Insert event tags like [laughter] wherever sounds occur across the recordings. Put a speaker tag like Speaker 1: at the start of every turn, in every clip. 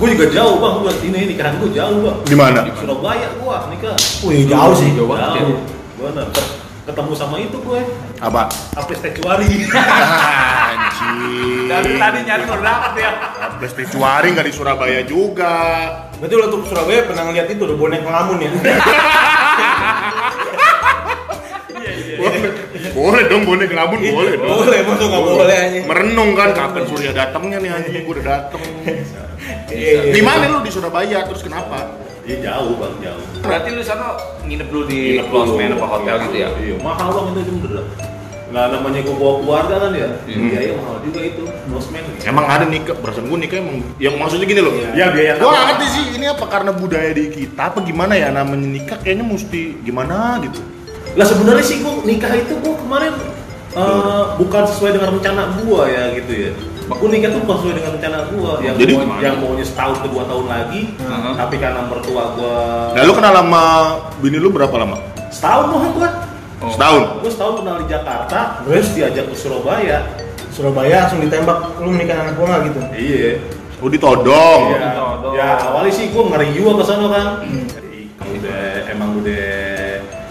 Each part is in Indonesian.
Speaker 1: Gue juga jauh bang, gue ini nikahan gue jauh bang.
Speaker 2: Di mana?
Speaker 1: Di Surabaya gue nikah.
Speaker 3: Wih, jauh sih.
Speaker 1: Jauh
Speaker 4: banget ya.
Speaker 1: Gue ketemu sama itu ya, gue,
Speaker 2: Apa?
Speaker 1: Apes Tecuari. [laughs]
Speaker 2: Anjing.
Speaker 4: Dari tadi nyari lo dapet ya.
Speaker 2: Cuari nggak di Surabaya juga.
Speaker 3: Berarti lo tuh ke Surabaya pernah ngeliat itu udah bonek ngelamun
Speaker 1: Iya,
Speaker 3: ya?
Speaker 2: Boleh, boleh dong bonek ngelamun boleh dong.
Speaker 3: Boleh,
Speaker 4: Eh,
Speaker 3: masa
Speaker 1: Iya.
Speaker 3: nggak boleh anjing?
Speaker 2: Merenung kan kapan Surya datangnya nih anjing gue udah dateng.
Speaker 3: Iya, iya.
Speaker 2: Di mana lu di Surabaya terus kenapa?
Speaker 1: Dia Iya, jauh bang, jauh.
Speaker 4: Berarti lu sana nginep dulu di
Speaker 1: Nginep dulu.
Speaker 4: losmen apa hotel gitu ya?
Speaker 1: Iya, mahal bang itu cuma dulu. Nah namanya gue bawa keluarga kan ya,
Speaker 4: Iya.
Speaker 1: iya iya mahal juga itu, losmen.
Speaker 2: Emang ada nikah, perasaan gue nikah emang yang maksudnya gini loh.
Speaker 1: Iya, biaya
Speaker 2: Gue
Speaker 1: tambah.
Speaker 2: gak ngerti sih ini apa karena budaya di kita apa gimana ya namanya nikah kayaknya mesti gimana gitu.
Speaker 1: Lah sebenarnya sih gue nikah itu gue kemarin eh, bukan sesuai dengan rencana gua ya gitu ya. Gue nikah tuh bukan sesuai dengan rencana gua yang
Speaker 2: Jadi
Speaker 1: mau,
Speaker 2: gimana?
Speaker 1: yang maunya setahun ke dua tahun lagi,
Speaker 4: Heeh.
Speaker 1: tapi karena mertua gua
Speaker 2: Nah lu kenal sama bini lu berapa lama?
Speaker 1: setahun mah gua.
Speaker 4: Oh.
Speaker 2: Setahun.
Speaker 1: Gua setahun kenal di Jakarta,
Speaker 3: Terus?
Speaker 1: terus diajak ke Surabaya.
Speaker 3: Surabaya langsung ditembak, lu menikah anak gua nggak gitu?
Speaker 1: Iya.
Speaker 2: Oh ditodong.
Speaker 1: Ya,
Speaker 4: Todong.
Speaker 1: ya awalnya sih gua ngeri juga ke sana kan. udah emang udah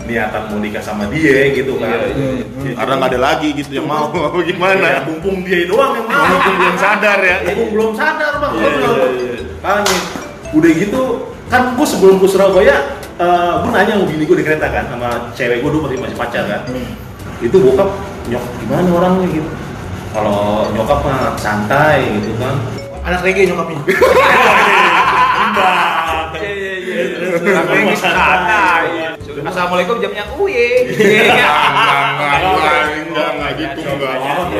Speaker 1: niatan mau nikah sama dia gitu kan.
Speaker 4: Iya, iya,
Speaker 3: iya.
Speaker 2: Karena nggak ada lagi gitu yang mau
Speaker 1: Ya,
Speaker 2: [laughs] gimana?
Speaker 1: mumpung dia doang yang mau.
Speaker 2: Walaupun belum sadar ya.
Speaker 1: Ya gue belum sadar bang,
Speaker 2: Iya,
Speaker 1: gue belum.
Speaker 2: iya,
Speaker 1: Makanya udah gitu kan gue sebelum gue Surabaya, eh gue nanya sama bini gue di kereta kan sama cewek gue dulu masih masih pacar kan. Itu bokap nyok gimana orangnya gitu. Kalau nyokap mah santai gitu kan.
Speaker 3: Anak reggae nyokapnya.
Speaker 4: Iya iya iya.
Speaker 1: terus.
Speaker 4: Aku yang di sana. iya. Assalamualaikum jamnya uye. Iya iya.
Speaker 2: Enggak, enggak gitu, enggak.
Speaker 4: Iya,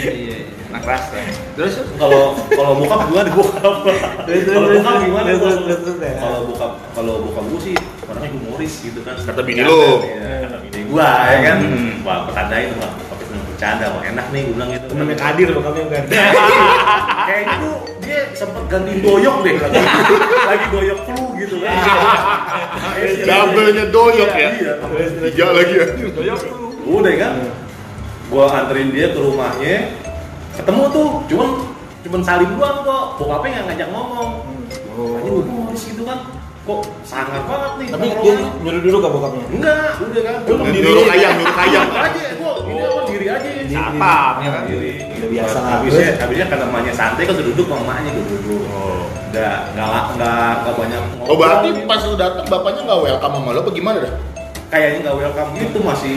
Speaker 4: iya. Anak kelas ya. Terus terus?
Speaker 1: Kalau kalau bokap gimana bokap? Kalau bokap gimana?
Speaker 3: Terus,
Speaker 1: bokap?
Speaker 3: terus, terus, ya.
Speaker 1: Kalau bokap kalau bokap gue sih orangnya humoris gitu kan.
Speaker 2: Kata bini lo.
Speaker 1: Iya, kata bini gua ya kan.
Speaker 2: Hmm.
Speaker 1: Wah, pertandain wah, tapi senang bercanda, wah enak nih gue bilang gitu.
Speaker 3: Namanya Kadir bokapnya kan.
Speaker 1: Kayaknya tuh dia sempet ganti doyok deh lagi, lagi doyok flu gitu kan.
Speaker 3: Iya.
Speaker 2: Double-nya doyok ya.
Speaker 1: Iya.
Speaker 2: Tiga lagi ya.
Speaker 4: Doyok dulu.
Speaker 1: Udah kan, gua anterin dia ke rumahnya, ketemu tuh, cuman cuman salim doang kok, bokapnya nggak ngajak ngomong.
Speaker 2: Oh.
Speaker 1: Makanya gue humoris gitu kan, kok sangar banget nih.
Speaker 3: Tapi dia
Speaker 1: tongkrongan.
Speaker 3: nyuruh dulu ke bokapnya.
Speaker 1: enggak, udah kan. Gua
Speaker 3: Diri.
Speaker 2: Nyuruh ayam, nyuruh ayam.
Speaker 1: ayam aja, gua ini apa diri aja.
Speaker 4: Apa? Ya kan?
Speaker 1: Diri.
Speaker 3: Udah biasa lah.
Speaker 1: habisnya habisnya karena emaknya santai kan duduk sama emaknya gue duduk nggak nggak la- nggak nggak banyak
Speaker 2: Oh berarti
Speaker 1: ngobrol.
Speaker 2: pas lu datang bapaknya nggak welcome sama lu apa gimana dah?
Speaker 1: kayaknya nggak welcome gitu masih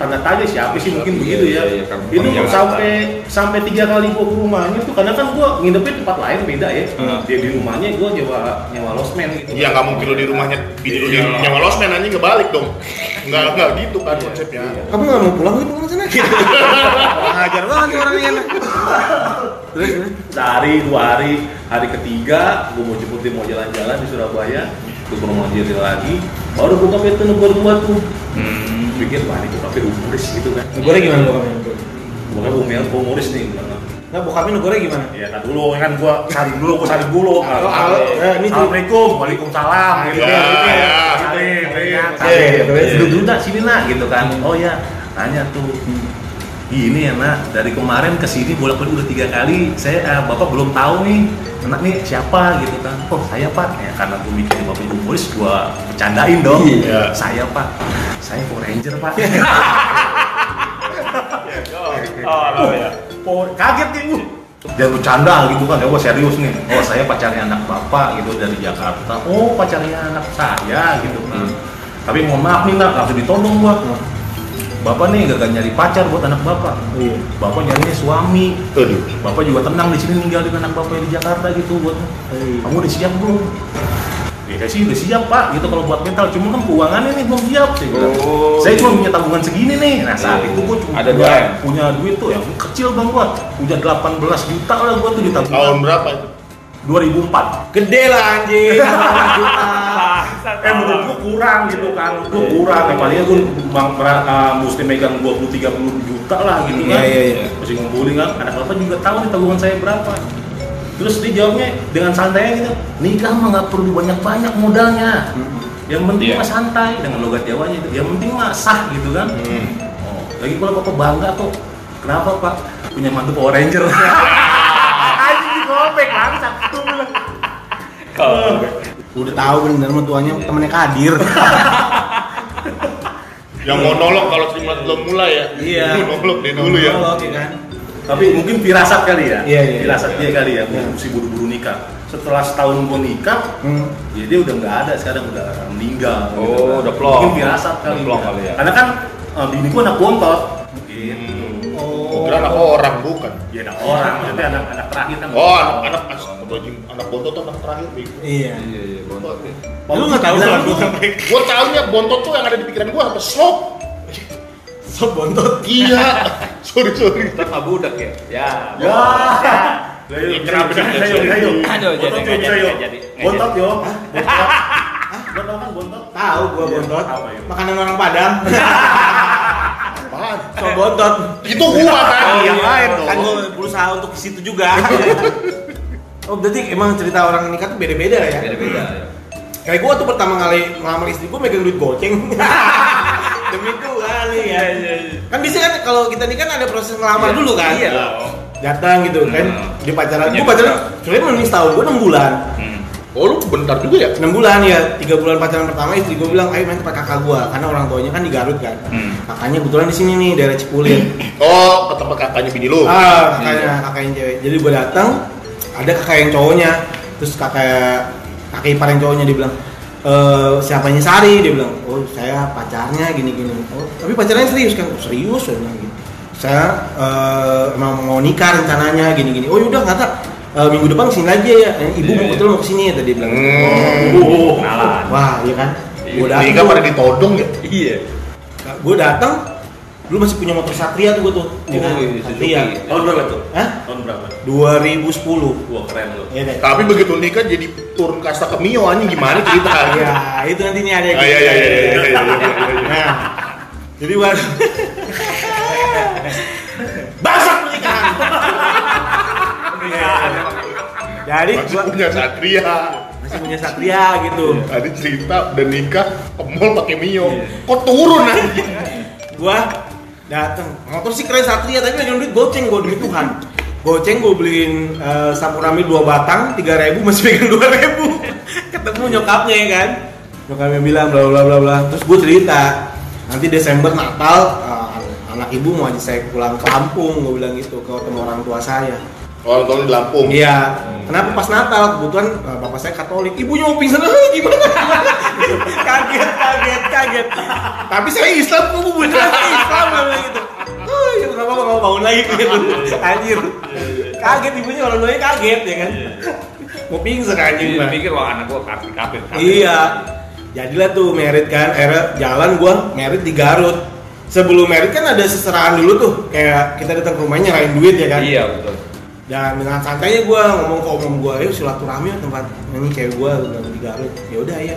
Speaker 1: tanda tanya siapa sih mungkin
Speaker 4: Iya,
Speaker 1: begitu ya
Speaker 4: iya, kan. iya, kan bukan
Speaker 1: itu
Speaker 4: Jakarta.
Speaker 1: sampai sampai tiga kali gua ke rumahnya tuh karena kan gua nginepnya tempat lain beda ya
Speaker 4: Hmm.
Speaker 1: dia di rumahnya gua nyewa nyewa losmen gitu
Speaker 2: Iya nggak mungkin lu di rumahnya, bini
Speaker 4: Iya.
Speaker 2: lu di nyawa losmen anjing ngebalik dong. Nggak nggak gitu kan konsepnya.
Speaker 3: Kamu nggak mau pulang gitu kan sana? Ngajar banget nih orangnya. Terus, terus.
Speaker 1: sehari dua hari hari ketiga gue mau jemput dia mau jalan-jalan di Surabaya gue ke rumah dia lagi baru buka pintu nomor dua tuh
Speaker 2: Hmm.
Speaker 1: pikir wah ini bokapnya humoris gitu kan
Speaker 3: Negornya gimana bokapnya?
Speaker 1: bokapnya humel humoris nih gua bilang.
Speaker 3: Nah, bokapnya negornya gimana?
Speaker 1: ya kan dulu kan gua salim dulu gua salim dulu
Speaker 3: Halo, halo. Eh, ini tuh.
Speaker 1: assalamualaikum waalaikumsalam gitu gitu
Speaker 2: Ya, ya.
Speaker 1: salim salim,
Speaker 3: Salim,
Speaker 1: salim
Speaker 3: terus.
Speaker 1: duduk dulu nak, sini nak gitu kan oh ya tanya tuh "Hmm, Ini ya nak, dari kemarin ke sini bolak balik udah tiga kali. Saya eh, bapak belum tahu nih, anak nih siapa gitu kan? Oh saya pak, ya karena gue mikir bapak humoris, gua bercandain dong.
Speaker 2: Iya.
Speaker 1: Saya pak, saya Power Ranger pak. [laughs]
Speaker 4: Oh, ya.
Speaker 1: Power- kaget nih gue. Jangan bercanda gitu kan, ya gue serius nih. Oh saya pacarnya anak bapak gitu dari Jakarta. Oh pacarnya anak saya gitu kan. Tapi mohon maaf nih nak, langsung ditodong gua. Bapak nih gagal nyari pacar buat anak bapak.
Speaker 3: Oh, Iya.
Speaker 1: Bapak nyarinya suami,
Speaker 2: Aduh.
Speaker 1: Bapak juga tenang di sini ninggalin anak bapak di Jakarta gitu buat
Speaker 3: Iya.
Speaker 1: kamu udah siap belum? Ya sih udah siap pak, gitu kalau buat mental cuma kan keuangannya nih belum siap sih. gua bilang.
Speaker 4: Oh.
Speaker 1: Saya cuma punya tabungan segini nih. Nah saat
Speaker 4: Iya.
Speaker 1: itu gua cuma punya,
Speaker 4: Ada dua ya? M.
Speaker 1: punya duit tuh yang kecil bang gua, punya 18 juta lah gua tuh di tabungan
Speaker 2: Tahun berapa itu?
Speaker 1: 2004.
Speaker 3: Gede lah anjing.
Speaker 1: Eh menurut gua kurang gitu kan, gua kurang. Ya, palingnya gua bang uh, mesti megang 20 30 juta lah gitu kan.
Speaker 3: Iya, iya, iya.
Speaker 1: Masih ngumpulin kan, anak bapak juga tahu nih tabungan saya berapa. Terus dia jawabnya dengan santainya gitu, nikah mah nggak perlu banyak-banyak modalnya.
Speaker 3: Hmm.
Speaker 1: Yang penting
Speaker 4: Iya.
Speaker 1: mah santai dengan logat Jawanya itu. Yang penting mah sah gitu kan.
Speaker 3: Hmm.
Speaker 1: Oh, lagi pula bapak bangga kok.
Speaker 3: [laughs]
Speaker 1: Kenapa pak? Punya mantu Power Ranger. Anjing di ngobek langsung. Tunggu
Speaker 3: Udah tahu bener sama tuanya temennya Kadir.
Speaker 2: Yang monolog kalau terima belum mulai ya.
Speaker 3: Iya.
Speaker 2: Monolog deh dulu ya.
Speaker 3: Monolog, kan.
Speaker 1: Tapi mungkin firasat kali ya.
Speaker 3: Iya, iya,
Speaker 1: Firasat
Speaker 2: iya.
Speaker 1: dia kali ya, mesti buru-buru nikah. Setelah setahun gua nikah,
Speaker 3: Hmm.
Speaker 1: ya dia udah nggak ada sekarang udah meninggal.
Speaker 4: Oh,
Speaker 1: kan.
Speaker 4: udah plong.
Speaker 1: Mungkin firasat kali.
Speaker 4: Udah plong kali ya.
Speaker 1: Karena kan eh, bini gua anak bontot. Gitu.
Speaker 2: Hmm.
Speaker 3: Oh,
Speaker 2: Gua kira anak orang bukan.
Speaker 1: Ya anak orang, tapi anak-anak terakhir kan.
Speaker 2: Oh, anak anak astagfirullahaladzim. anak bontot tuh anak terakhir nih.
Speaker 3: Iya.
Speaker 4: Iya, iya, bontot.
Speaker 3: Lu nggak tahu
Speaker 1: Bilang,
Speaker 3: kan?
Speaker 1: "Lu
Speaker 2: Gua taunya bontot tuh yang ada di pikiran gua apa slop.
Speaker 3: Sob bontot.
Speaker 2: Iya. [laughs] sorry sorry.
Speaker 4: Kita mah budak ya. Ya. [laughs]
Speaker 1: Ya.
Speaker 2: Ini kenapa
Speaker 1: Ayo,
Speaker 2: nih?
Speaker 1: ayo, ayo.
Speaker 4: Aduh, jadi,
Speaker 1: Bontot, yuk,
Speaker 4: nggak jadi,
Speaker 1: ayo.
Speaker 4: nggak jadi, nggak
Speaker 1: Bontot yo. Bontot. Lo tau kan bontot?
Speaker 3: Tahu gua
Speaker 1: Iya,
Speaker 3: bontot.
Speaker 1: apa
Speaker 2: ya?
Speaker 1: itu?
Speaker 3: Makanan orang Padang. [laughs]
Speaker 2: Apaan?
Speaker 3: Sob bontot.
Speaker 2: Itu gua tadi yang lain dong.
Speaker 3: Kan gua berusaha untuk ke situ juga.
Speaker 4: Iya.
Speaker 3: Oh berarti emang cerita orang nikah tuh beda-beda ya?
Speaker 4: Beda-beda.
Speaker 3: Kayak gua tuh pertama kali ngelamar istri gua megang
Speaker 4: [laughs]
Speaker 3: duit goceng. Demi Tuhan nih ya. Kan bisa kan kalau kita nikah kan ada proses ngelamar dulu kan?
Speaker 4: Iya, Iya.
Speaker 2: Oh.
Speaker 3: Datang gitu kan.
Speaker 4: Hmm.
Speaker 3: Dia pacaran.
Speaker 4: Punya
Speaker 3: Gua pacaran
Speaker 4: duit.
Speaker 3: sebenarnya belum nih setahun, gua 6 bulan.
Speaker 2: Oh lu bentar juga ya?
Speaker 3: 6 bulan ya, 3 bulan pacaran pertama istri gua bilang, "Ayo main tempat kakak gua." Karena orang tuanya kan di Garut kan.
Speaker 4: Hmm.
Speaker 3: Kakaknya kebetulan di sini nih daerah Cipulir.
Speaker 2: Oh, ke tempat kakaknya bini lu.
Speaker 4: Iya.
Speaker 3: ah, kakaknya, kakak yang cewek. Jadi gua datang, ada kakak yang cowoknya. Terus kakak kakak ipar yang cowoknya dia bilang, e, siapanya Sari?" Dia bilang, "Oh, saya pacarnya gini-gini." Oh, tapi pacarnya serius kan? "Oh, serius saya bilang gitu. Saya eh, emang mau nikah rencananya gini-gini. Oh, yaudah kata eh, minggu depan kesini lagi ya. Eh,
Speaker 4: Iya,
Speaker 3: Ibu mau
Speaker 4: iya.
Speaker 3: betul mau kesini tadi dia bilang.
Speaker 2: Hmm.
Speaker 1: Uh,
Speaker 4: Oh, Kenalan.
Speaker 3: Wah, iya kan? Gua datang
Speaker 2: Tiga pada ditodong ya?
Speaker 4: Iya.
Speaker 3: gue datang dulu masih punya motor Satria tuh gue tuh ya kan?
Speaker 4: Oh, iya,
Speaker 3: Satria
Speaker 4: Suzuki.
Speaker 1: Tahun berapa tuh?
Speaker 3: Hah?
Speaker 1: Tahun berapa?
Speaker 3: 2010
Speaker 1: Wah keren lo.
Speaker 3: Iya deh
Speaker 2: Tapi begitu nikah jadi turun kasta ke Mio anjing gimana cerita?
Speaker 3: ya itu nanti nih ada yang
Speaker 2: Ah, Iya iya iya iya iya iya.
Speaker 3: nah jadi baru bangsat pernikahan pernikahan jadi
Speaker 2: Masih
Speaker 3: gua
Speaker 2: punya Satria.
Speaker 3: masih punya Satria gitu
Speaker 2: Ada cerita udah nikah ke mall pakai Mio.
Speaker 3: Iya.
Speaker 2: Kok turun anjing?
Speaker 3: gua datang motor sih keren Satria tapi megang duit goceng gua demi Tuhan goceng gua beliin eh, sakurami dua batang tiga ribu masih pegang dua ribu [laughs] ketemu nyokapnya ya kan nyokapnya bilang bla bla bla bla terus gua cerita nanti Desember Natal eh, anak ibu mau aja saya pulang ke Lampung gua bilang gitu ke ketemu orang tua saya
Speaker 2: Orang tahun Oh, di Lampung.
Speaker 3: Iya. Kenapa pas Natal kebetulan eh, bapak saya Katolik, ibunya mau pingsan "Eh, gimana? [laughs] kaget, kaget, kaget. Tapi saya Islam, kok bu bener saya Islam Gua bilang gitu. Oh, ya kenapa apa mau bangun lagi gitu. Anjir. Kaget ibunya orang tuanya kaget ya kan. Mau pingsan anjing,
Speaker 4: Jadi
Speaker 3: Pak.
Speaker 4: pikir wah anak gua kafir kafir. kafir.
Speaker 3: Iya. Jadilah tuh merit kan, era jalan gua merit di Garut. Sebelum merit kan ada seserahan dulu tuh, kayak kita datang ke rumahnya nyerahin duit ya kan
Speaker 4: Iya betul.
Speaker 3: dan dengan santainya gue ngomong ke om gue yuk silaturahmi yuk tempat ini cewek gue udah di Garut ya udah ya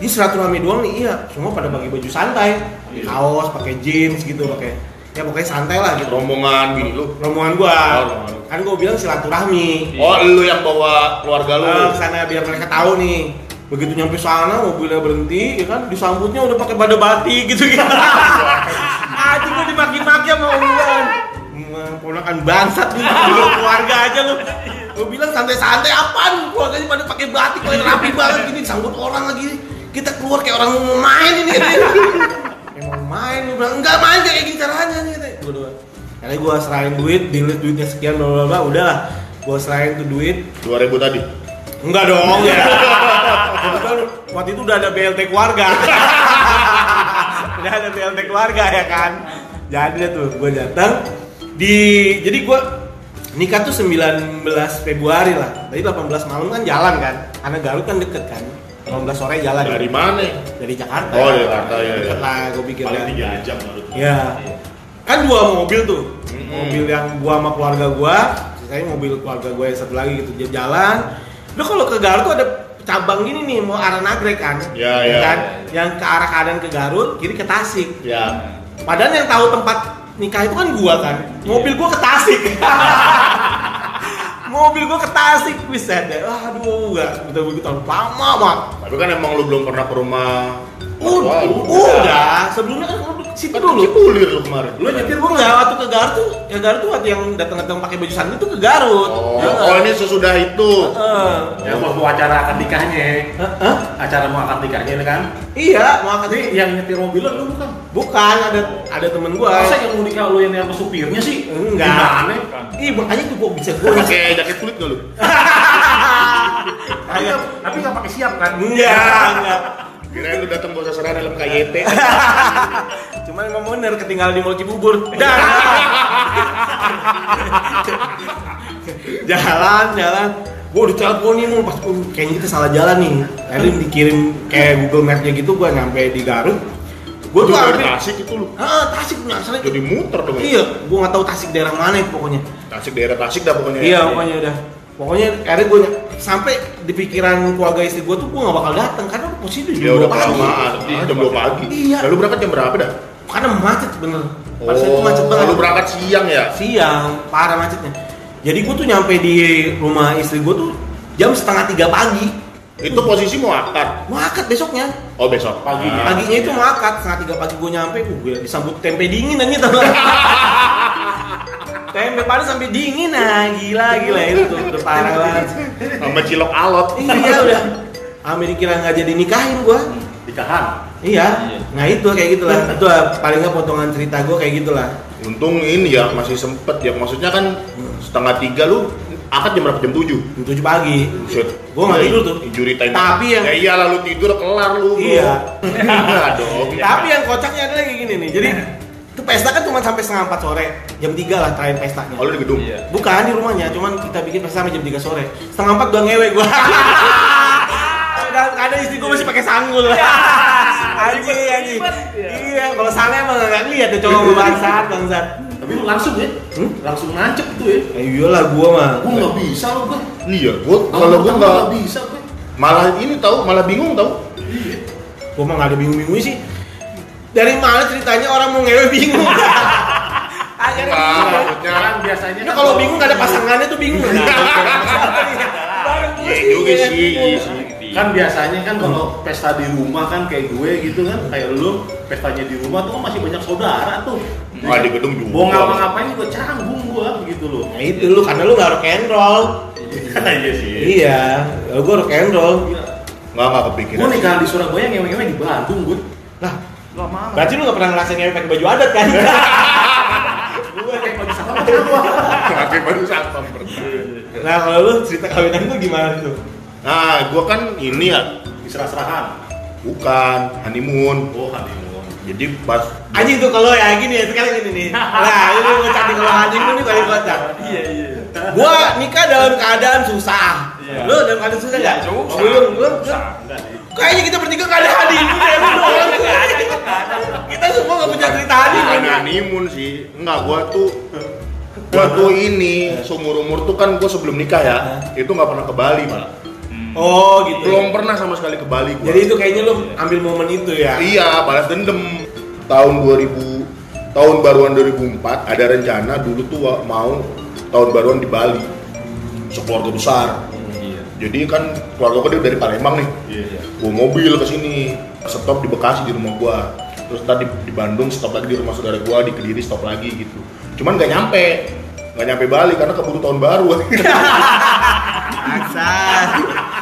Speaker 3: ini silaturahmi doang nih iya semua pada pakai baju santai
Speaker 2: Iya.
Speaker 3: kaos pakai jeans gitu pakai ya pokoknya santai lah gitu
Speaker 2: Rombongan bini lu.
Speaker 3: rombongan gue
Speaker 2: Oh, rombongan lu.
Speaker 3: kan gue bilang silaturahmi
Speaker 2: Oh, lu yang bawa keluarga lu.
Speaker 3: Eh, ke sana biar mereka tahu nih begitu nyampe sana mobilnya berhenti ya kan disambutnya udah pakai bada bati gitu gitu aja gue dimaki-maki sama om Iwan ponakan bangsat nih lu keluarga aja lu gue bilang santai-santai apaan keluarganya pada pakai batik pakai rapi banget gini disambut orang lagi kita keluar kayak orang mau main ini gitu katanya. emang main gue bilang enggak main kayak gini caranya nih katanya. Gua doang. karena gue serahin duit dilihat duitnya sekian bla bla bla udahlah gue serahin tuh duit
Speaker 2: 2000 tadi.
Speaker 3: Enggak dong ya. Kebetulan waktu itu udah ada BLT keluarga. udah ada BLT keluarga ya kan. Jadi deh tuh gue datang di jadi gue nikah tuh 19 Februari lah. Tadi 18 malam kan jalan kan. Karena Garut kan deket kan. 18 sore jalan.
Speaker 2: Dari mana?
Speaker 3: Dari Jakarta.
Speaker 2: Oh, dari Jakarta, iya,
Speaker 3: Deket
Speaker 2: iya.
Speaker 3: lah gue pikir
Speaker 2: Paling
Speaker 3: kan.
Speaker 2: 3 jam baru.
Speaker 3: Iya. Kan dua mobil tuh.
Speaker 2: Mm-mm.
Speaker 3: Mobil yang gua sama keluarga gua, saya mobil keluarga gua yang satu lagi gitu dia jalan. Lu kalau ke Garut tuh ada cabang gini nih mau arah Nagrek kan?
Speaker 2: Iya,
Speaker 3: Ya
Speaker 2: iya.
Speaker 3: Kan? Yang ke arah kanan ke Garut, kiri ke Tasik.
Speaker 2: Ya.
Speaker 3: Padahal yang tahu tempat nikah itu kan gua kan. Mobil gua ke Tasik. [laughs] mobil gua ke Tasik bisa deh. Wah, aduh, gak betul begitu lama banget.
Speaker 2: Tapi kan emang lu belum pernah ke rumah
Speaker 3: Udah,
Speaker 2: mertua lu.
Speaker 3: udah. Sebelumnya kan gua situ
Speaker 2: Kan
Speaker 3: dulu.
Speaker 2: cipulir lu kemarin.
Speaker 3: Lu nyetir gua enggak waktu ke Garut tuh, ya Garut tuh waktu yang datang-datang pakai baju santri tuh ke Garut.
Speaker 2: Oh,
Speaker 3: Ya,
Speaker 2: oh ini sesudah itu.
Speaker 3: eh,
Speaker 1: Ya mau mau acara akad nikahnya ya.
Speaker 3: eh, eh,
Speaker 1: Acara mau akad nikahnya ini kan.
Speaker 3: Iya, mau
Speaker 1: Tadi
Speaker 3: angkat
Speaker 1: yang nyetir mobil lu bukan.
Speaker 3: Bukan ada ada temen gua.
Speaker 2: gitu?
Speaker 1: Masa yang mau nikah lu yang apa supirnya sih?
Speaker 3: Enggak.
Speaker 1: Gimana?
Speaker 3: Ih, makanya tuh gua bisa
Speaker 2: [laughs]
Speaker 3: gua.
Speaker 2: Pakai jaket kulit nggak lu?
Speaker 1: Tapi, tapi nggak pakai siap kan?
Speaker 2: Iya.
Speaker 3: Enggak, enggak.
Speaker 2: Kirain lu datang bawa sasaran dalam
Speaker 3: [laughs]
Speaker 2: KYT.
Speaker 3: Cuman emang bener ketinggalan di Mall Cibubur. Iya.
Speaker 2: [laughs]
Speaker 3: Dan jalan, jalan. Gua diteleponin mulu pas oh, kayaknya kita salah jalan nih. Akhirnya dikirim kayak Google Map-nya gitu gua nyampe di Garut. Gua tuh
Speaker 2: Udah dari
Speaker 3: hampir
Speaker 2: Tasik itu lu.
Speaker 3: Heeh, Tasik punya asalnya
Speaker 2: Jadi muter dong. ya.
Speaker 3: Iya, gua nggak tahu Tasik daerah mana pokoknya.
Speaker 2: Tasik daerah Tasik dah pokoknya.
Speaker 3: Iya, pokoknya udah. Pokoknya akhirnya gue sampai di pikiran keluarga istri gue tuh gue gak bakal datang karena posisi itu
Speaker 2: Dia
Speaker 3: jam
Speaker 2: udah
Speaker 3: 2 pagi.
Speaker 2: kelamaan, Ah, jam 2 pagi.
Speaker 3: Iya.
Speaker 2: Lalu berangkat jam berapa dah?
Speaker 3: Karena macet bener. Pada saat Oh. itu macet banget.
Speaker 2: Lalu berangkat siang ya?
Speaker 3: Siang, parah macetnya. Jadi gue tuh nyampe di rumah istri gue tuh jam setengah tiga pagi.
Speaker 2: Itu posisi mau akad.
Speaker 3: Mau akad besoknya.
Speaker 2: Oh besok
Speaker 1: Paginya.
Speaker 2: Ah.
Speaker 3: Paginya itu mau akad, setengah tiga pagi gue nyampe, uh, gue disambut tempe dingin aja tau [laughs] nggak? Tempe panas sampai dingin nah, gila gila itu tuh udah parah banget.
Speaker 2: Sama cilok alot.
Speaker 3: iya udah Amerika nggak jadi nikahin gua
Speaker 1: Nikahan.
Speaker 3: iya
Speaker 1: Iya.
Speaker 3: nah itu kayak gitulah itu lah, paling nggak potongan cerita gua kayak gitulah
Speaker 2: Untung ini ya masih sempet ya. Maksudnya kan setengah tiga lu akad jam berapa? Jam tujuh.
Speaker 3: jam tujuh pagi
Speaker 2: Buset.
Speaker 3: Gua nggak tidur tuh.
Speaker 2: Injury time.
Speaker 3: Tapi yang-
Speaker 2: Ya iyalah lu tidur kelar lu. bro.
Speaker 3: Iya.
Speaker 2: Enggak dong.
Speaker 3: [laughs] tapi yang kocaknya adalah kayak gini nih jadi itu pesta kan cuma sampai setengah empat sore jam tiga lah terakhir pestanya
Speaker 2: Oh, lu di gedung.
Speaker 4: Iya.
Speaker 3: bukan di rumahnya cuman kita bikin pesta sampai jam tiga sore setengah empat gua ngewe gua [laughs] Dan ada istri gua masih pakai sanggul Iya. [laughs] Anjing, anjing.
Speaker 4: ribet, ya.
Speaker 3: Iya, kalau sange emang nggak lihat tuh cowok gua bangsat, bangsat.
Speaker 1: Tapi lu langsung ya?
Speaker 3: Hmm?
Speaker 1: Langsung nancep tuh ya?
Speaker 3: Ya iyalah gua mah.
Speaker 1: Gua nggak bisa lu gua. kan
Speaker 2: Iya, gua kalau gua
Speaker 1: nggak
Speaker 2: enggak
Speaker 1: bisa gua.
Speaker 2: malah ini tahu, malah bingung tahu.
Speaker 3: Gua mah gak ada bingung-bingungnya sih. Dari mana ceritanya orang mau ngewe
Speaker 2: [laughs]
Speaker 3: bingung? Akhirnya
Speaker 2: Ah,
Speaker 3: bingung.
Speaker 2: maksudnya
Speaker 1: Sekarang Kan biasanya
Speaker 3: Ini kalau bingung gak ada pasangannya tuh bingung. Bareng
Speaker 2: Iya
Speaker 3: pusing,
Speaker 2: juga
Speaker 3: ya,
Speaker 2: sih. iya
Speaker 3: bingung.
Speaker 2: sih.
Speaker 1: kan biasanya kan kalau pesta di rumah kan kayak gue gitu kan kayak lu pestanya di rumah tuh kan masih banyak saudara tuh
Speaker 2: Wah, di gedung juga.
Speaker 1: mau ngapa-ngapain juga canggung gua gitu loh
Speaker 3: Nah itu lu karena lu gak rock and roll.
Speaker 1: [laughs] iya sih
Speaker 3: Iya, kalau gua rock and roll.
Speaker 2: Enggak enggak
Speaker 1: gue
Speaker 2: kepikiran. [laughs]
Speaker 1: nikahan di Surabaya ngewe-ngewe di Bandung gue
Speaker 3: Lah,
Speaker 1: lama
Speaker 3: berarti lu gak pernah ngerasain ngewe pakai baju adat
Speaker 2: [laughs]
Speaker 3: kan?
Speaker 1: gue kayak pagi sama gua
Speaker 2: Pakai baru satpam
Speaker 3: Nah, kalau lu cerita kawinan lu gimana tuh?
Speaker 2: Nah, gua kan ini ya
Speaker 1: diserah-serahan
Speaker 2: bukan honeymoon.
Speaker 1: oh honeymoon
Speaker 2: Jadi pas
Speaker 3: Anjing tuh kalau ya gini ya, sekarang gini nih. Nah,
Speaker 4: [laughs]
Speaker 3: ini lu kocak nih kalau anjing lu nih paling kocak.
Speaker 4: Iya iya.
Speaker 3: gua nikah dalam keadaan susah
Speaker 4: Iya.
Speaker 3: lu dalam keadaan susah nggak
Speaker 4: Susah.
Speaker 3: belum belum
Speaker 4: Susah.
Speaker 3: kayaknya kita bertiga nggak ada hari ini ya, lu doang. kita semua nggak punya cerita hari ini
Speaker 2: bukan honeymoon Iya, sih. Enggak, gua tuh gua tuh ini seumur umur tuh kan gua sebelum nikah ya itu nggak pernah ke Bali malah
Speaker 3: oh gitu
Speaker 2: belum pernah sama sekali ke Bali gua
Speaker 3: jadi itu kayaknya lu ambil momen itu ya
Speaker 2: Iya, balas dendam. Tahun 2000, tahun baruan 2004 ada rencana dulu tuh wa- mau tahun baruan di Bali. Sekeluarga besar. Jadi kan keluarga gue dari Palembang nih.
Speaker 1: iya
Speaker 2: Bawa mobil ke sini, stop di Bekasi di rumah gua. Terus tadi di Bandung stop lagi di rumah saudara gua, di Kediri stop lagi gitu. Cuman gak nyampe. Gak nyampe Bali karena keburu tahun baru. [laughs]
Speaker 3: Aksan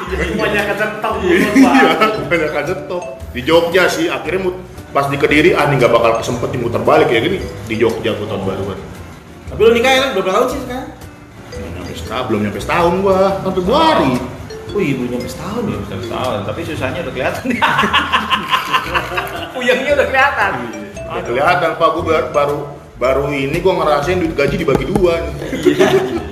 Speaker 1: semuanya kecetok
Speaker 2: Iya, kebanyakan stop. Di Jogja sih, akhirnya mut- pas di Kediri, ah ini nggak bakal kesempet nih muter balik ya gini. Di Jogja gua tahun baruan.
Speaker 3: tapi lu nikah ya kan berapa tahun sih sekarang
Speaker 2: Belum nyampe setahun, belum nyampe setahun gua, tahun Februari.
Speaker 3: wih belum Oh, nyampe setahun ya
Speaker 4: Satu tahun, tapi susahnya udah kelihatan. [laughs] Puyengnya udah kelihatan.
Speaker 2: Udah kelihatan Pak, gua bar- baru baru ini gua ngerasain duit gaji dibagi dua nih.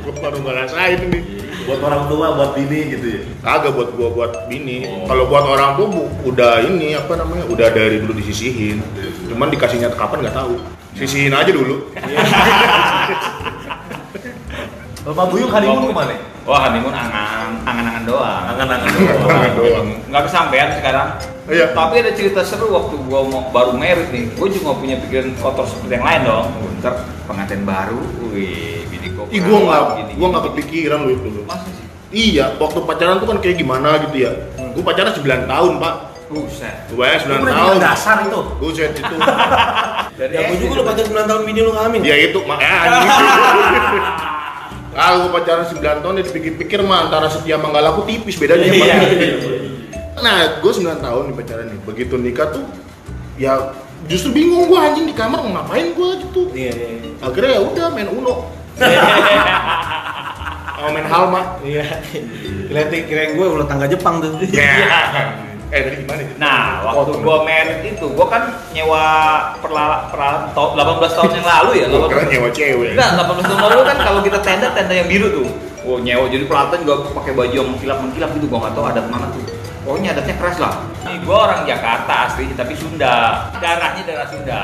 Speaker 2: gua baru ngerasain nih.
Speaker 1: buat orang tua buat bini gitu ya
Speaker 2: Kagak buat gua buat bini.
Speaker 1: Oh.
Speaker 2: Kalau buat orang tuh bu- udah ini apa namanya? Udah dari dulu disisihin. Cuman dikasihnya kapan nggak tahu. Sisihin aja dulu.
Speaker 1: Bapak Buyung honeymoon kemana?
Speaker 4: Wah, Oh, honeymoon angan, angan-angan doang.
Speaker 1: Angan-angan
Speaker 2: Angan doang.
Speaker 4: Nggak kesampean sekarang.
Speaker 2: Iya.
Speaker 4: Tapi ada cerita seru waktu gua mau baru merit nih. Gua juga mau punya pikiran kotor seperti yang lain dong. Bentar pengantin baru, wih, bini gua.
Speaker 2: Ih, gua nggak,
Speaker 4: Nah, gini,
Speaker 2: gua
Speaker 4: gini.
Speaker 2: nggak kepikiran lu itu.
Speaker 4: Masa sih?
Speaker 2: Iya, waktu pacaran tuh kan kayak gimana gitu ya. Gue pacaran 9 tahun, Pak.
Speaker 4: Buset.
Speaker 2: Gue bayar 9
Speaker 1: Udah
Speaker 2: tahun.
Speaker 1: dasar itu
Speaker 2: Gue set itu.
Speaker 4: Dari
Speaker 3: Ya
Speaker 4: SD Iya.
Speaker 3: gue juga lu
Speaker 4: tuh.
Speaker 3: pacar 9 tahun bini lu hamil.
Speaker 2: Ya itu mak eh, anjing. Kalau pacaran 9 tahun ya dipikir-pikir mah antara setia sama nggak laku tipis bedanya.
Speaker 3: Iya.
Speaker 2: Pak. Nah, gue 9 tahun nih pacaran nih. Begitu nikah tuh ya justru bingung gue anjing di kamar mau ngapain gue gitu.
Speaker 3: Iya, iya.
Speaker 2: Akhirnya ya udah main Uno. Sama main Halma.
Speaker 3: Iya. Lihat nih, kirain gue ulah tangga Jepang tuh.
Speaker 2: Iya.
Speaker 3: Iya.
Speaker 2: Eh dari gimana? ya?
Speaker 4: Iya. Nah, waktu
Speaker 2: Kotor.
Speaker 4: gua merit itu, gua kan nyewa perla, perla, to- 18 tahun yang lalu ya,
Speaker 2: Gua kira
Speaker 4: 18
Speaker 2: nyewa cewek.
Speaker 4: Enggak, 18 tahun lalu kan kalau kita tenda, tenda yang biru tuh. Oh, nyewa jadi pelatan juga pakai baju yang mengkilap-mengkilap gitu, gua nggak tahu adat mana tuh. Pokoknya adatnya keras lah. Ini gua orang Jakarta asli, tapi Sunda. Darahnya darah Sunda.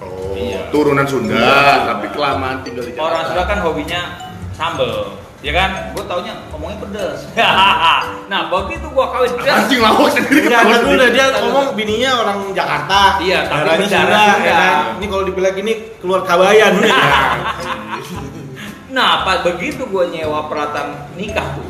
Speaker 2: Oh,
Speaker 4: Iya.
Speaker 2: turunan Sunda,
Speaker 4: Iya.
Speaker 2: tapi kelamaan tinggal di
Speaker 4: Orang
Speaker 2: Jakarta.
Speaker 4: Sunda kan hobinya sambel. Ya kan? Gua taunya ngomongnya pedes. [laughs] nah, begitu gua kawin pedes.
Speaker 2: Anjing lawak sendiri
Speaker 3: Iya,
Speaker 2: ketawa
Speaker 3: kan dulu
Speaker 2: sendiri.
Speaker 3: dia ngomong bininya orang Jakarta.
Speaker 4: Iya, Iya. tapi
Speaker 3: darahnya
Speaker 4: bicara
Speaker 3: Sunda, ya kan. Ini kalau dibilang gini keluar Kabayan.
Speaker 4: Nah, pas begitu gua nyewa peralatan nikah tuh.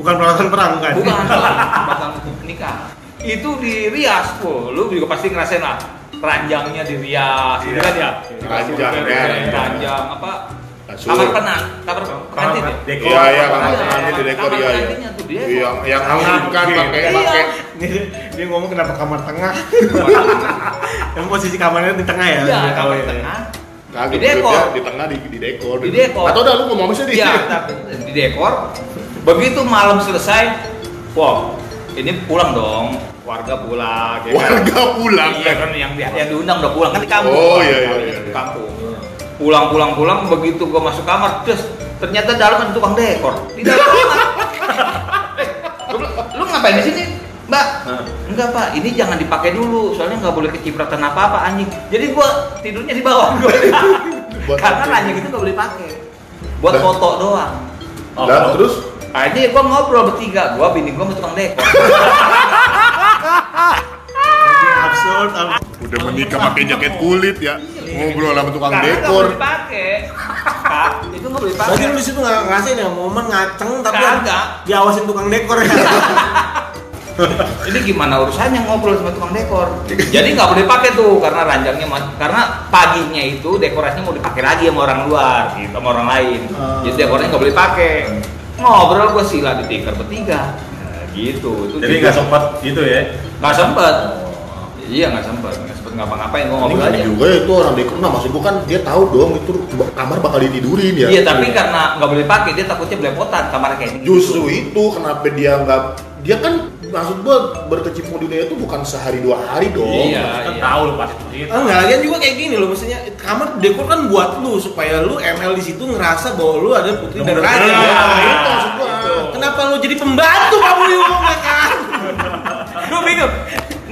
Speaker 3: Bukan peralatan perang bukan.
Speaker 4: Bukan salah, batang nikah. Itu di Rias, Wah, lu juga pasti ngerasain lah ranjangnya di Rias, gitu kan ya? Iya,
Speaker 2: Ranjang,
Speaker 4: Di-
Speaker 2: ya.
Speaker 4: ranjang apa?
Speaker 2: Kasur.
Speaker 4: Kamar penang, kamar pengantin. ya?
Speaker 1: dekor.
Speaker 2: Iya, iya, kamar
Speaker 4: Iya,
Speaker 2: pengantin di dekor,
Speaker 4: kamar
Speaker 2: iya, iya.
Speaker 4: pengantinnya tuh, dia.
Speaker 2: Iya, yang hangkan pakai
Speaker 4: Iya.
Speaker 2: pakai
Speaker 3: Ini dia- dia ngomong kenapa kamar tengah. Emang posisi kamarnya di tengah ya?
Speaker 4: Iya, kamar
Speaker 3: Iya.
Speaker 4: tengah.
Speaker 2: kagak
Speaker 4: Di dekor.
Speaker 2: beda, di tengah di, di dekor.
Speaker 4: Di dekor.
Speaker 2: Atau udah lu ngomong apa sih di? [laughs]
Speaker 4: Iya, tapi di dekor. Begitu malam selesai, wow, ini pulang dong, warga pulang. ya kan?
Speaker 2: Warga pulang.
Speaker 4: Iya kan yang di- yang diundang udah pulang kan di kampung.
Speaker 2: Oh,
Speaker 4: kan,
Speaker 2: iya, iya,
Speaker 4: kawinnya
Speaker 2: iya,
Speaker 4: di
Speaker 2: iya.
Speaker 4: kampung. Pulang pulang pulang begitu gua masuk kamar terus ternyata dalam ada tukang dekor. Di dalam
Speaker 2: [laughs]
Speaker 4: kamar. Eh, gua bilang, lu ngapain di sini? Mbak,
Speaker 1: Hah?
Speaker 4: enggak pak, ini jangan dipakai dulu, soalnya nggak boleh kecipratan apa-apa anjing. Jadi gua tidurnya di bawah gua.
Speaker 2: Buat
Speaker 4: Karena
Speaker 2: apa?
Speaker 4: ranjang itu nggak boleh pakai, buat
Speaker 2: Lah.
Speaker 4: foto doang.
Speaker 1: Oh,
Speaker 2: Lah,
Speaker 1: kalau-
Speaker 2: terus
Speaker 4: Akhirnya gua ngobrol bertiga, gua bini gua sama tukang dekor.
Speaker 3: Iya, Absurd. absurd.
Speaker 2: udah menikah pakai jaket kulit ya. Ngobrol sama tukang
Speaker 4: Karena nggak
Speaker 2: dekor.
Speaker 4: boleh dipakai. Kak, itu nggak boleh dipakai.
Speaker 3: Berarti lu di situ nggak ngerasain ya momen ngaceng tapi
Speaker 4: Kagak.
Speaker 3: diawasin tukang dekor ya.
Speaker 4: Ini gimana urusannya ngobrol sama tukang
Speaker 2: [laughs]
Speaker 4: dekor? Jadi nggak boleh pakai tuh karena ranjangnya mas- karena paginya itu dekorasinya mau dipakai lagi sama orang luar, gitu, sama orang lain.
Speaker 2: Ah.
Speaker 3: Hmm.
Speaker 4: Jadi dekornya nggak boleh pakai. Ngobrol gue sila di tikar bertiga. Nah, gitu. Itu
Speaker 1: Jadi
Speaker 4: juga-
Speaker 1: nggak sempat gitu ya.
Speaker 4: nggak sempet. Iya nggak sempet. Nggak sempet ngapa-ngapain gue ngobrol
Speaker 2: Ini
Speaker 4: aja.
Speaker 2: juga ya, itu orang dekor. Nah, maksud gua kan dia tahu dong itu kamar bakal ditidurin ya.
Speaker 4: Iya tapi karena nggak boleh pakai dia takutnya belepotan kamar kayak gitu.
Speaker 2: Justru itu kenapa dia nggak dia kan maksud gua berkecimpung di dunia itu bukan sehari dua hari dong.
Speaker 4: Iya,
Speaker 1: Kan
Speaker 4: iya.
Speaker 1: tahu lu pasti itu.
Speaker 3: Ah, Enggak, lagian juga kayak gini loh, maksudnya kamar dekor kan buat lu supaya lu ML di situ ngerasa bahwa lu ada putri dan
Speaker 1: Bener.
Speaker 3: raja. Nah,
Speaker 1: Iya,
Speaker 2: itu maksud gua.
Speaker 3: Gitu. Kenapa lu jadi pembantu kamu di rumah kan?
Speaker 4: Lu bingung.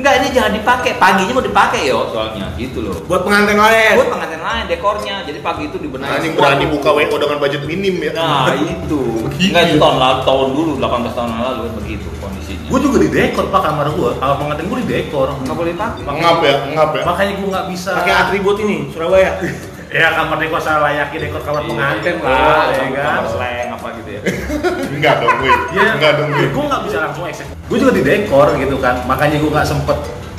Speaker 4: Enggak ini jangan dipakai. Paginya mau dipakai yo soalnya gitu loh.
Speaker 3: Buat pengantin lain.
Speaker 4: Buat Eh, pengantin lain dekornya. Jadi pagi itu dibenahi.
Speaker 2: Anjing
Speaker 4: semua.
Speaker 2: Nah, berani buka WO dengan budget minim ya.
Speaker 4: Nah
Speaker 2: [laughs]
Speaker 4: itu. Enggak itu tahun lalu tahun dulu 18 tahun yang lalu kan begitu kondisinya.
Speaker 1: Gue juga di dekor pak kamar gue. Kalau pengantin gue di dekor.
Speaker 4: Enggak boleh pakai.
Speaker 2: ngap ya, ngap ya.
Speaker 1: Makanya gue nggak bisa.
Speaker 3: Pakai atribut ini Surabaya.
Speaker 1: Ya kamar dekor saya layaknya dekor kamar pengantin
Speaker 4: Iya,
Speaker 1: lah,
Speaker 4: iya,
Speaker 1: ya kan.
Speaker 4: Kamar seleng apa gitu
Speaker 1: [laughs]
Speaker 4: ya.
Speaker 2: Enggak dong, gue.
Speaker 1: Iya.
Speaker 2: Enggak dong, gue.
Speaker 1: gue nggak bisa langsung eksekusi. Gue juga di dekor gitu kan, makanya gue nggak sempet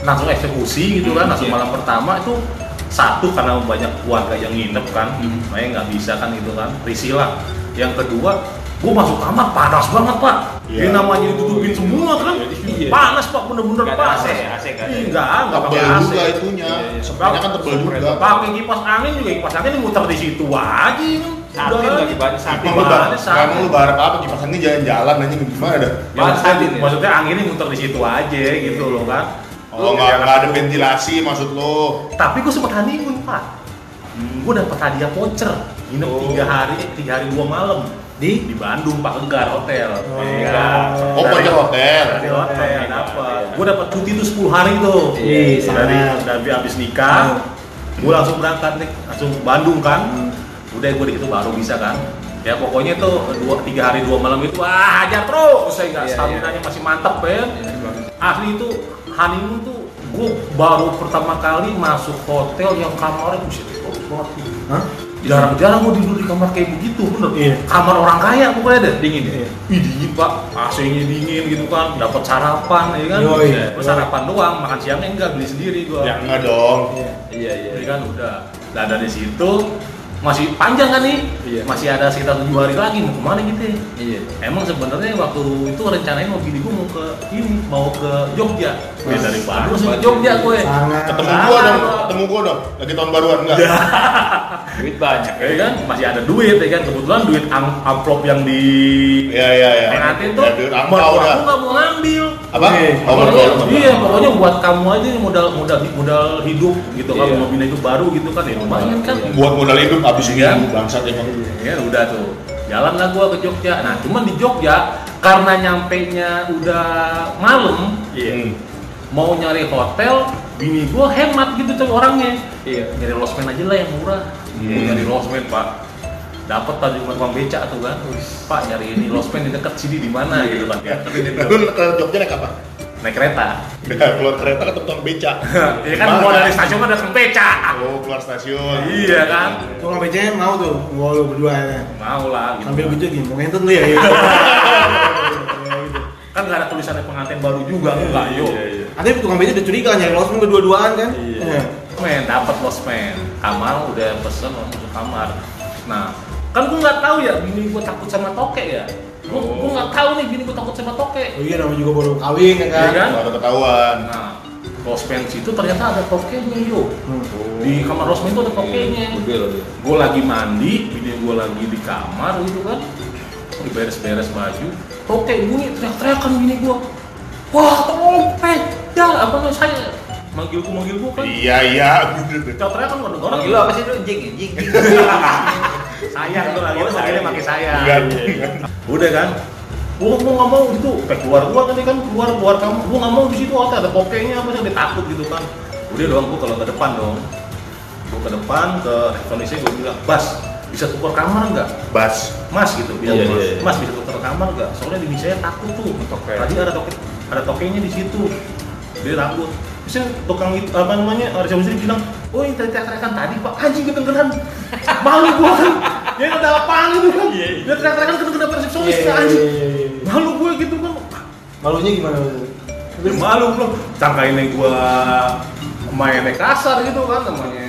Speaker 1: langsung eksekusi gitu kan,
Speaker 4: Hmm,
Speaker 1: langsung
Speaker 4: iya.
Speaker 1: malam pertama itu satu karena banyak keluarga yang nginep kan,
Speaker 4: Hmm.
Speaker 1: makanya nggak bisa kan gitu kan, risih lah. Yang kedua, gue masuk kamar panas banget pak,
Speaker 2: Iya.
Speaker 1: ini namanya ditutupin semua kan,
Speaker 4: Iya.
Speaker 1: panas pak bener-bener
Speaker 4: Nggak ada
Speaker 1: panas.
Speaker 4: AC, AC nggak ada.
Speaker 1: Ih, nggak, nggak pakai
Speaker 2: Tebel
Speaker 1: AC.
Speaker 2: juga itunya.
Speaker 4: Iya, iya.
Speaker 2: Sebenarnya kan tebel
Speaker 4: Sebenarnya
Speaker 2: juga.
Speaker 1: Pakai kipas angin juga kipas angin muter di situ aja kan.
Speaker 4: Satin
Speaker 1: Udah,
Speaker 4: lagi banyak satin.
Speaker 2: Emang lu bar,
Speaker 1: Gimana, Sam?
Speaker 2: emang lu bar apa kipas angin jalan-jalan anjing gimana dah?
Speaker 1: Ya, maksudnya,
Speaker 4: Satin ya?
Speaker 1: maksudnya anginnya muter di situ aja gitu loh kan.
Speaker 2: Oh, enggak enggak ada ventilasi maksud lu.
Speaker 1: Tapi gue sempet honeymoon pak. Gue dapet hadiah voucher. Nginep
Speaker 4: Hmm. Oh.
Speaker 1: tiga hari, tiga hari dua malam
Speaker 3: Di
Speaker 1: di Bandung Pak Enggar Hotel.
Speaker 3: Oh.
Speaker 1: Iya kan?
Speaker 2: Oh,
Speaker 1: Dari-
Speaker 2: pakai hotel.
Speaker 1: Dari hotel
Speaker 4: Hotel.
Speaker 1: dapat. Gue dapat cuti tuh 10 hari tuh.
Speaker 4: Iya, Hmm.
Speaker 1: Dari
Speaker 3: iya.
Speaker 1: dari dari abis nikah, gue langsung berangkat nih, langsung ke Bandung kan. Udah gue di situ baru bisa kan. Ya pokoknya tuh dua tiga hari dua malam itu wah aja terus saya nggak
Speaker 4: Iya, iya.
Speaker 1: stamina nya masih mantep ya asli itu honeymoon tuh gue baru pertama kali masuk hotel yang kamarnya buset itu banget sih.
Speaker 3: Hah?
Speaker 1: jarang-jarang gue tidur di kamar kayak begitu bener
Speaker 3: Iya.
Speaker 1: kamar orang kaya pokoknya deh
Speaker 4: dingin ya.
Speaker 3: Iya.
Speaker 1: Ih, dingin pak, AC-nya dingin gitu kan, dapat sarapan, ya kan?
Speaker 3: Yoi.
Speaker 1: Terus sarapan doang, makan siangnya enggak beli sendiri gua.
Speaker 2: Ya enggak dong.
Speaker 4: Iya iya.
Speaker 1: Jadi kan udah. Nah dari situ masih panjang kan nih?
Speaker 4: Iya.
Speaker 1: Masih ada sekitar tujuh hari lagi mau kemana gitu? ya?
Speaker 4: Iya.
Speaker 1: Emang sebenarnya waktu itu rencananya mau gini gue mau ke ini mau ke Jogja. Ya, dari Bandung langsung ke Jogja ya. gue.
Speaker 3: Sangat.
Speaker 2: Ketemu gua dong,
Speaker 1: Iya.
Speaker 2: ketemu gua dong. Lagi tahun baruan enggak?
Speaker 4: Duit banyak.
Speaker 1: Ya kan masih ada duit ya kan kebetulan duit am- amplop yang di
Speaker 2: Iya iya iya.
Speaker 1: Penatin tuh,
Speaker 2: Ya, duit angpau
Speaker 4: Iya.
Speaker 1: mertua
Speaker 2: dah.
Speaker 1: aku nggak mau ngambil.
Speaker 2: Apa?
Speaker 3: Iya.
Speaker 2: Oh, mertua lu.
Speaker 1: iya, pokoknya buat kamu aja yang modal modal modal hidup gitu kan,
Speaker 4: Iya.
Speaker 1: mau pindah hidup baru gitu kan, ya lumayan kan.
Speaker 4: Iya.
Speaker 2: buat modal hidup habis ini
Speaker 1: Iya.
Speaker 2: bangsat emang.
Speaker 1: Ya udah tuh, jalan lah gua ke Jogja. Nah, cuman di Jogja karena nyampe nya udah malam,
Speaker 2: Hmm.
Speaker 1: mau nyari hotel, bini gua hemat gitu coy orangnya.
Speaker 4: Iya.
Speaker 1: Nyari losmen aja lah yang murah.
Speaker 2: Hmm.
Speaker 1: Nyari losmen pak, dapat tadi rumah tukang beca tuh kan. Pak nyari ini losmen di dekat sini di mana gitu kan. Ya, tapi dia
Speaker 2: [laughs] Lu ke Jogja naik apa?
Speaker 1: naik kereta.
Speaker 2: [laughs] Udah keluar kereta ketemu tukang beca.
Speaker 1: [laughs] Iya kan
Speaker 2: Gimana?
Speaker 1: gua dari stasiun ada tukang beca.
Speaker 2: Oh, keluar stasiun.
Speaker 1: Iya kan.
Speaker 3: Gua nggak becanya mau tuh, gua lu berdua ya.
Speaker 1: Mau lah gitu.
Speaker 3: Sambil gue gini, mau ngentut lu ya. gitu.
Speaker 1: Kan nggak ada tulisannya pengantin baru juga
Speaker 2: Iya,
Speaker 1: enggak yuk.
Speaker 3: Katanya tukang beca udah curiga nyari losmen berdua-duaan kan? Iya.
Speaker 1: Men, dapat losmen. Kamar udah pesen langsung ke kamar. Nah, kan gua nggak tahu ya bini gua takut sama tokek ya. Gua gua nggak tahu nih bini gua takut sama tokek.
Speaker 3: Oh iya namanya juga baru kawin ya kan?
Speaker 1: Iya kan?
Speaker 2: Baru ketahuan.
Speaker 1: Nah, losmen situ ternyata ada tokeknya yuk.
Speaker 3: Hmm.
Speaker 1: Di kamar losmen itu ada tokeknya. Gua lagi mandi, bini gua lagi di kamar gitu kan. Diberes-beres baju, tokek bunyi teriak-teriakan bini gua. Wah, topeng. Ya, apa namanya saya manggilku manggilku kan.
Speaker 2: Iya, iya.
Speaker 1: Teriak-teriak kan ada orang
Speaker 4: Orang gila apa sih lu jing ya? jing?
Speaker 1: [laughs]
Speaker 4: jing.
Speaker 1: sayang tuh lagi
Speaker 4: Oh,
Speaker 1: tuh manggilnya pakai Iya, sayang
Speaker 2: Enggak. iya.
Speaker 1: udah kan gua mau nggak mau gitu Kayak keluar gua tadi kan keluar keluar kamu gua nggak mau di situ hotel ada pokoknya apa sih dia takut gitu kan udah dong gua kalau ke depan dong gua ke depan ke resepsionisnya gua bilang bas bisa tukar kamar nggak
Speaker 2: Bas.
Speaker 1: mas gitu bilang
Speaker 4: Iya,
Speaker 1: mas,
Speaker 4: iya, iya.
Speaker 1: mas bisa tukar kamar nggak soalnya di saya takut tuh
Speaker 4: Toke.
Speaker 1: tadi ada toke ada tokenya di situ dia takut bisa tukang itu apa namanya resepsionis bilang oh ini tadi teriakan tadi pak anjing [laughs] kedengeran malu gua kan dia ada apaan itu kan dia teriak-teriakan kedengeran resepsionis
Speaker 3: Iya,
Speaker 1: yeah,
Speaker 3: iya,
Speaker 1: anjing
Speaker 3: iya, iya.
Speaker 1: malu gua gitu kan
Speaker 3: Malunya gimana? lu?
Speaker 1: ya, malu belum sangkainnya gua mainnya kasar gitu kan namanya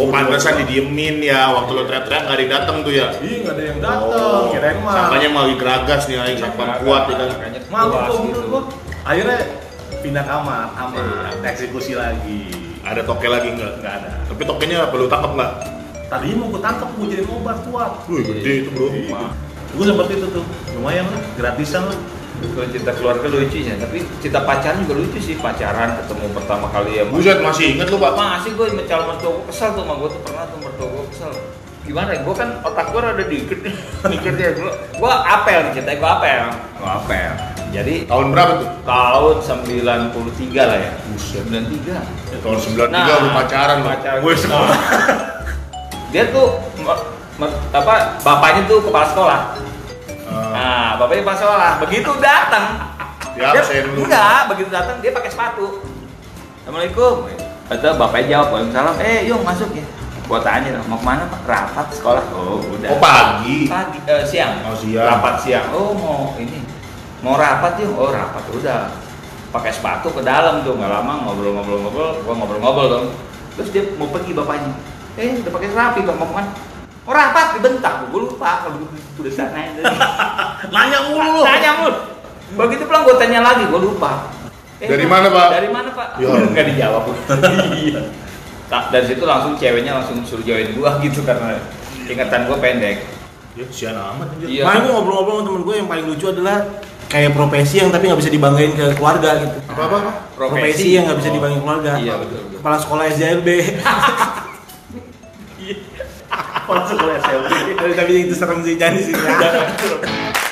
Speaker 2: Oh, pantesan didiemin ya waktu lo teriak-teriak nggak ada yang datang tuh ya. Oh,
Speaker 1: Ih, nggak ada yang datang Oh, kirain mah
Speaker 2: Sangkanya mau lagi geragas nih aing satpam kuat ya kan.
Speaker 4: Makanya
Speaker 1: malu
Speaker 4: puas
Speaker 1: gua
Speaker 4: gitu.
Speaker 1: bener gua akhirnya pindah kamar aman eksekusi lagi
Speaker 2: Ada toke lagi nggak?
Speaker 1: nggak ada
Speaker 2: Tapi tokenya perlu tangkap nggak?
Speaker 1: tadinya mau gua tangkap gua jadi obat kuat
Speaker 2: Wih, gede itu bro.
Speaker 1: iya. gua seperti itu tuh lumayan lah gratisan lah
Speaker 4: Kalau cinta keluarga lucu ya, tapi cinta pacaran juga lucu sih pacaran ketemu pertama kali ya.
Speaker 2: Buset masih inget lu pak?
Speaker 1: Nah.
Speaker 4: Masih gue sama calon mertua gue kesel tuh sama gue tuh pernah tuh mertua gue kesel Gimana ya, gue kan otak gue rada dikit [laughs] Dikit ya, gue Gue apel nih ceritanya, gue apel Gue apel Jadi
Speaker 2: Tahun berapa tuh?
Speaker 4: tahun 93 lah ya 93
Speaker 2: Ya, tahun 93 udah pacaran pak.
Speaker 4: gue sekolah Dia tuh, mer- mer- apa, bapaknya tuh kepala sekolah
Speaker 2: Eh,
Speaker 4: Nah, bapaknya pas sekolah, begitu datang.
Speaker 2: Dia absen lu.
Speaker 4: Enggak, begitu datang dia pakai sepatu. Assalamualaikum. Kata bapaknya jawab, Waalaikumsalam. Eh, yuk masuk ya. Gua tanya, mau kemana Pak? Rapat sekolah. Oh, udah.
Speaker 2: Oh pagi.
Speaker 4: Pagi, eh, siang.
Speaker 2: Oh, siang.
Speaker 4: Rapat siang. Oh, mau ini. Mau rapat yuk. Oh, rapat udah. Pakai sepatu ke dalam tuh, nggak lama ngobrol-ngobrol-ngobrol, gua ngobrol-ngobrol dong. Terus dia mau pergi bapaknya. Eh, udah pakai rapi bang, mau kemana? Oh, rapat dibentak, gua lupa kalau gua udah sana
Speaker 1: nanya mulu lu. [laughs]
Speaker 4: Tanya mul. Begitu pulang gue tanya lagi, gue lupa. Eh,
Speaker 2: Dari mana, Pak?
Speaker 4: Dari mana pak?
Speaker 2: Ya.
Speaker 4: Nggak dijawab. Iya. Nah, dari situ langsung ceweknya langsung suruh join gua [laughs] gitu karena ingatan gua pendek.
Speaker 2: Ya kesian amat anjir.
Speaker 4: Iya.
Speaker 3: Makanya gue ngobrol-ngobrol sama temen gue yang paling lucu adalah kayak profesi yang tapi nggak bisa dibanggain ke keluarga gitu.
Speaker 2: Apa apa? apa?
Speaker 3: Profesi, yang nggak bisa dibanggain keluarga.
Speaker 4: Iya, betul, betul.
Speaker 3: Kepala sekolah [laughs] SJLB.
Speaker 1: Langsung ke SLB.
Speaker 4: [laughs]
Speaker 3: tapi itu serem sih jangan di sini.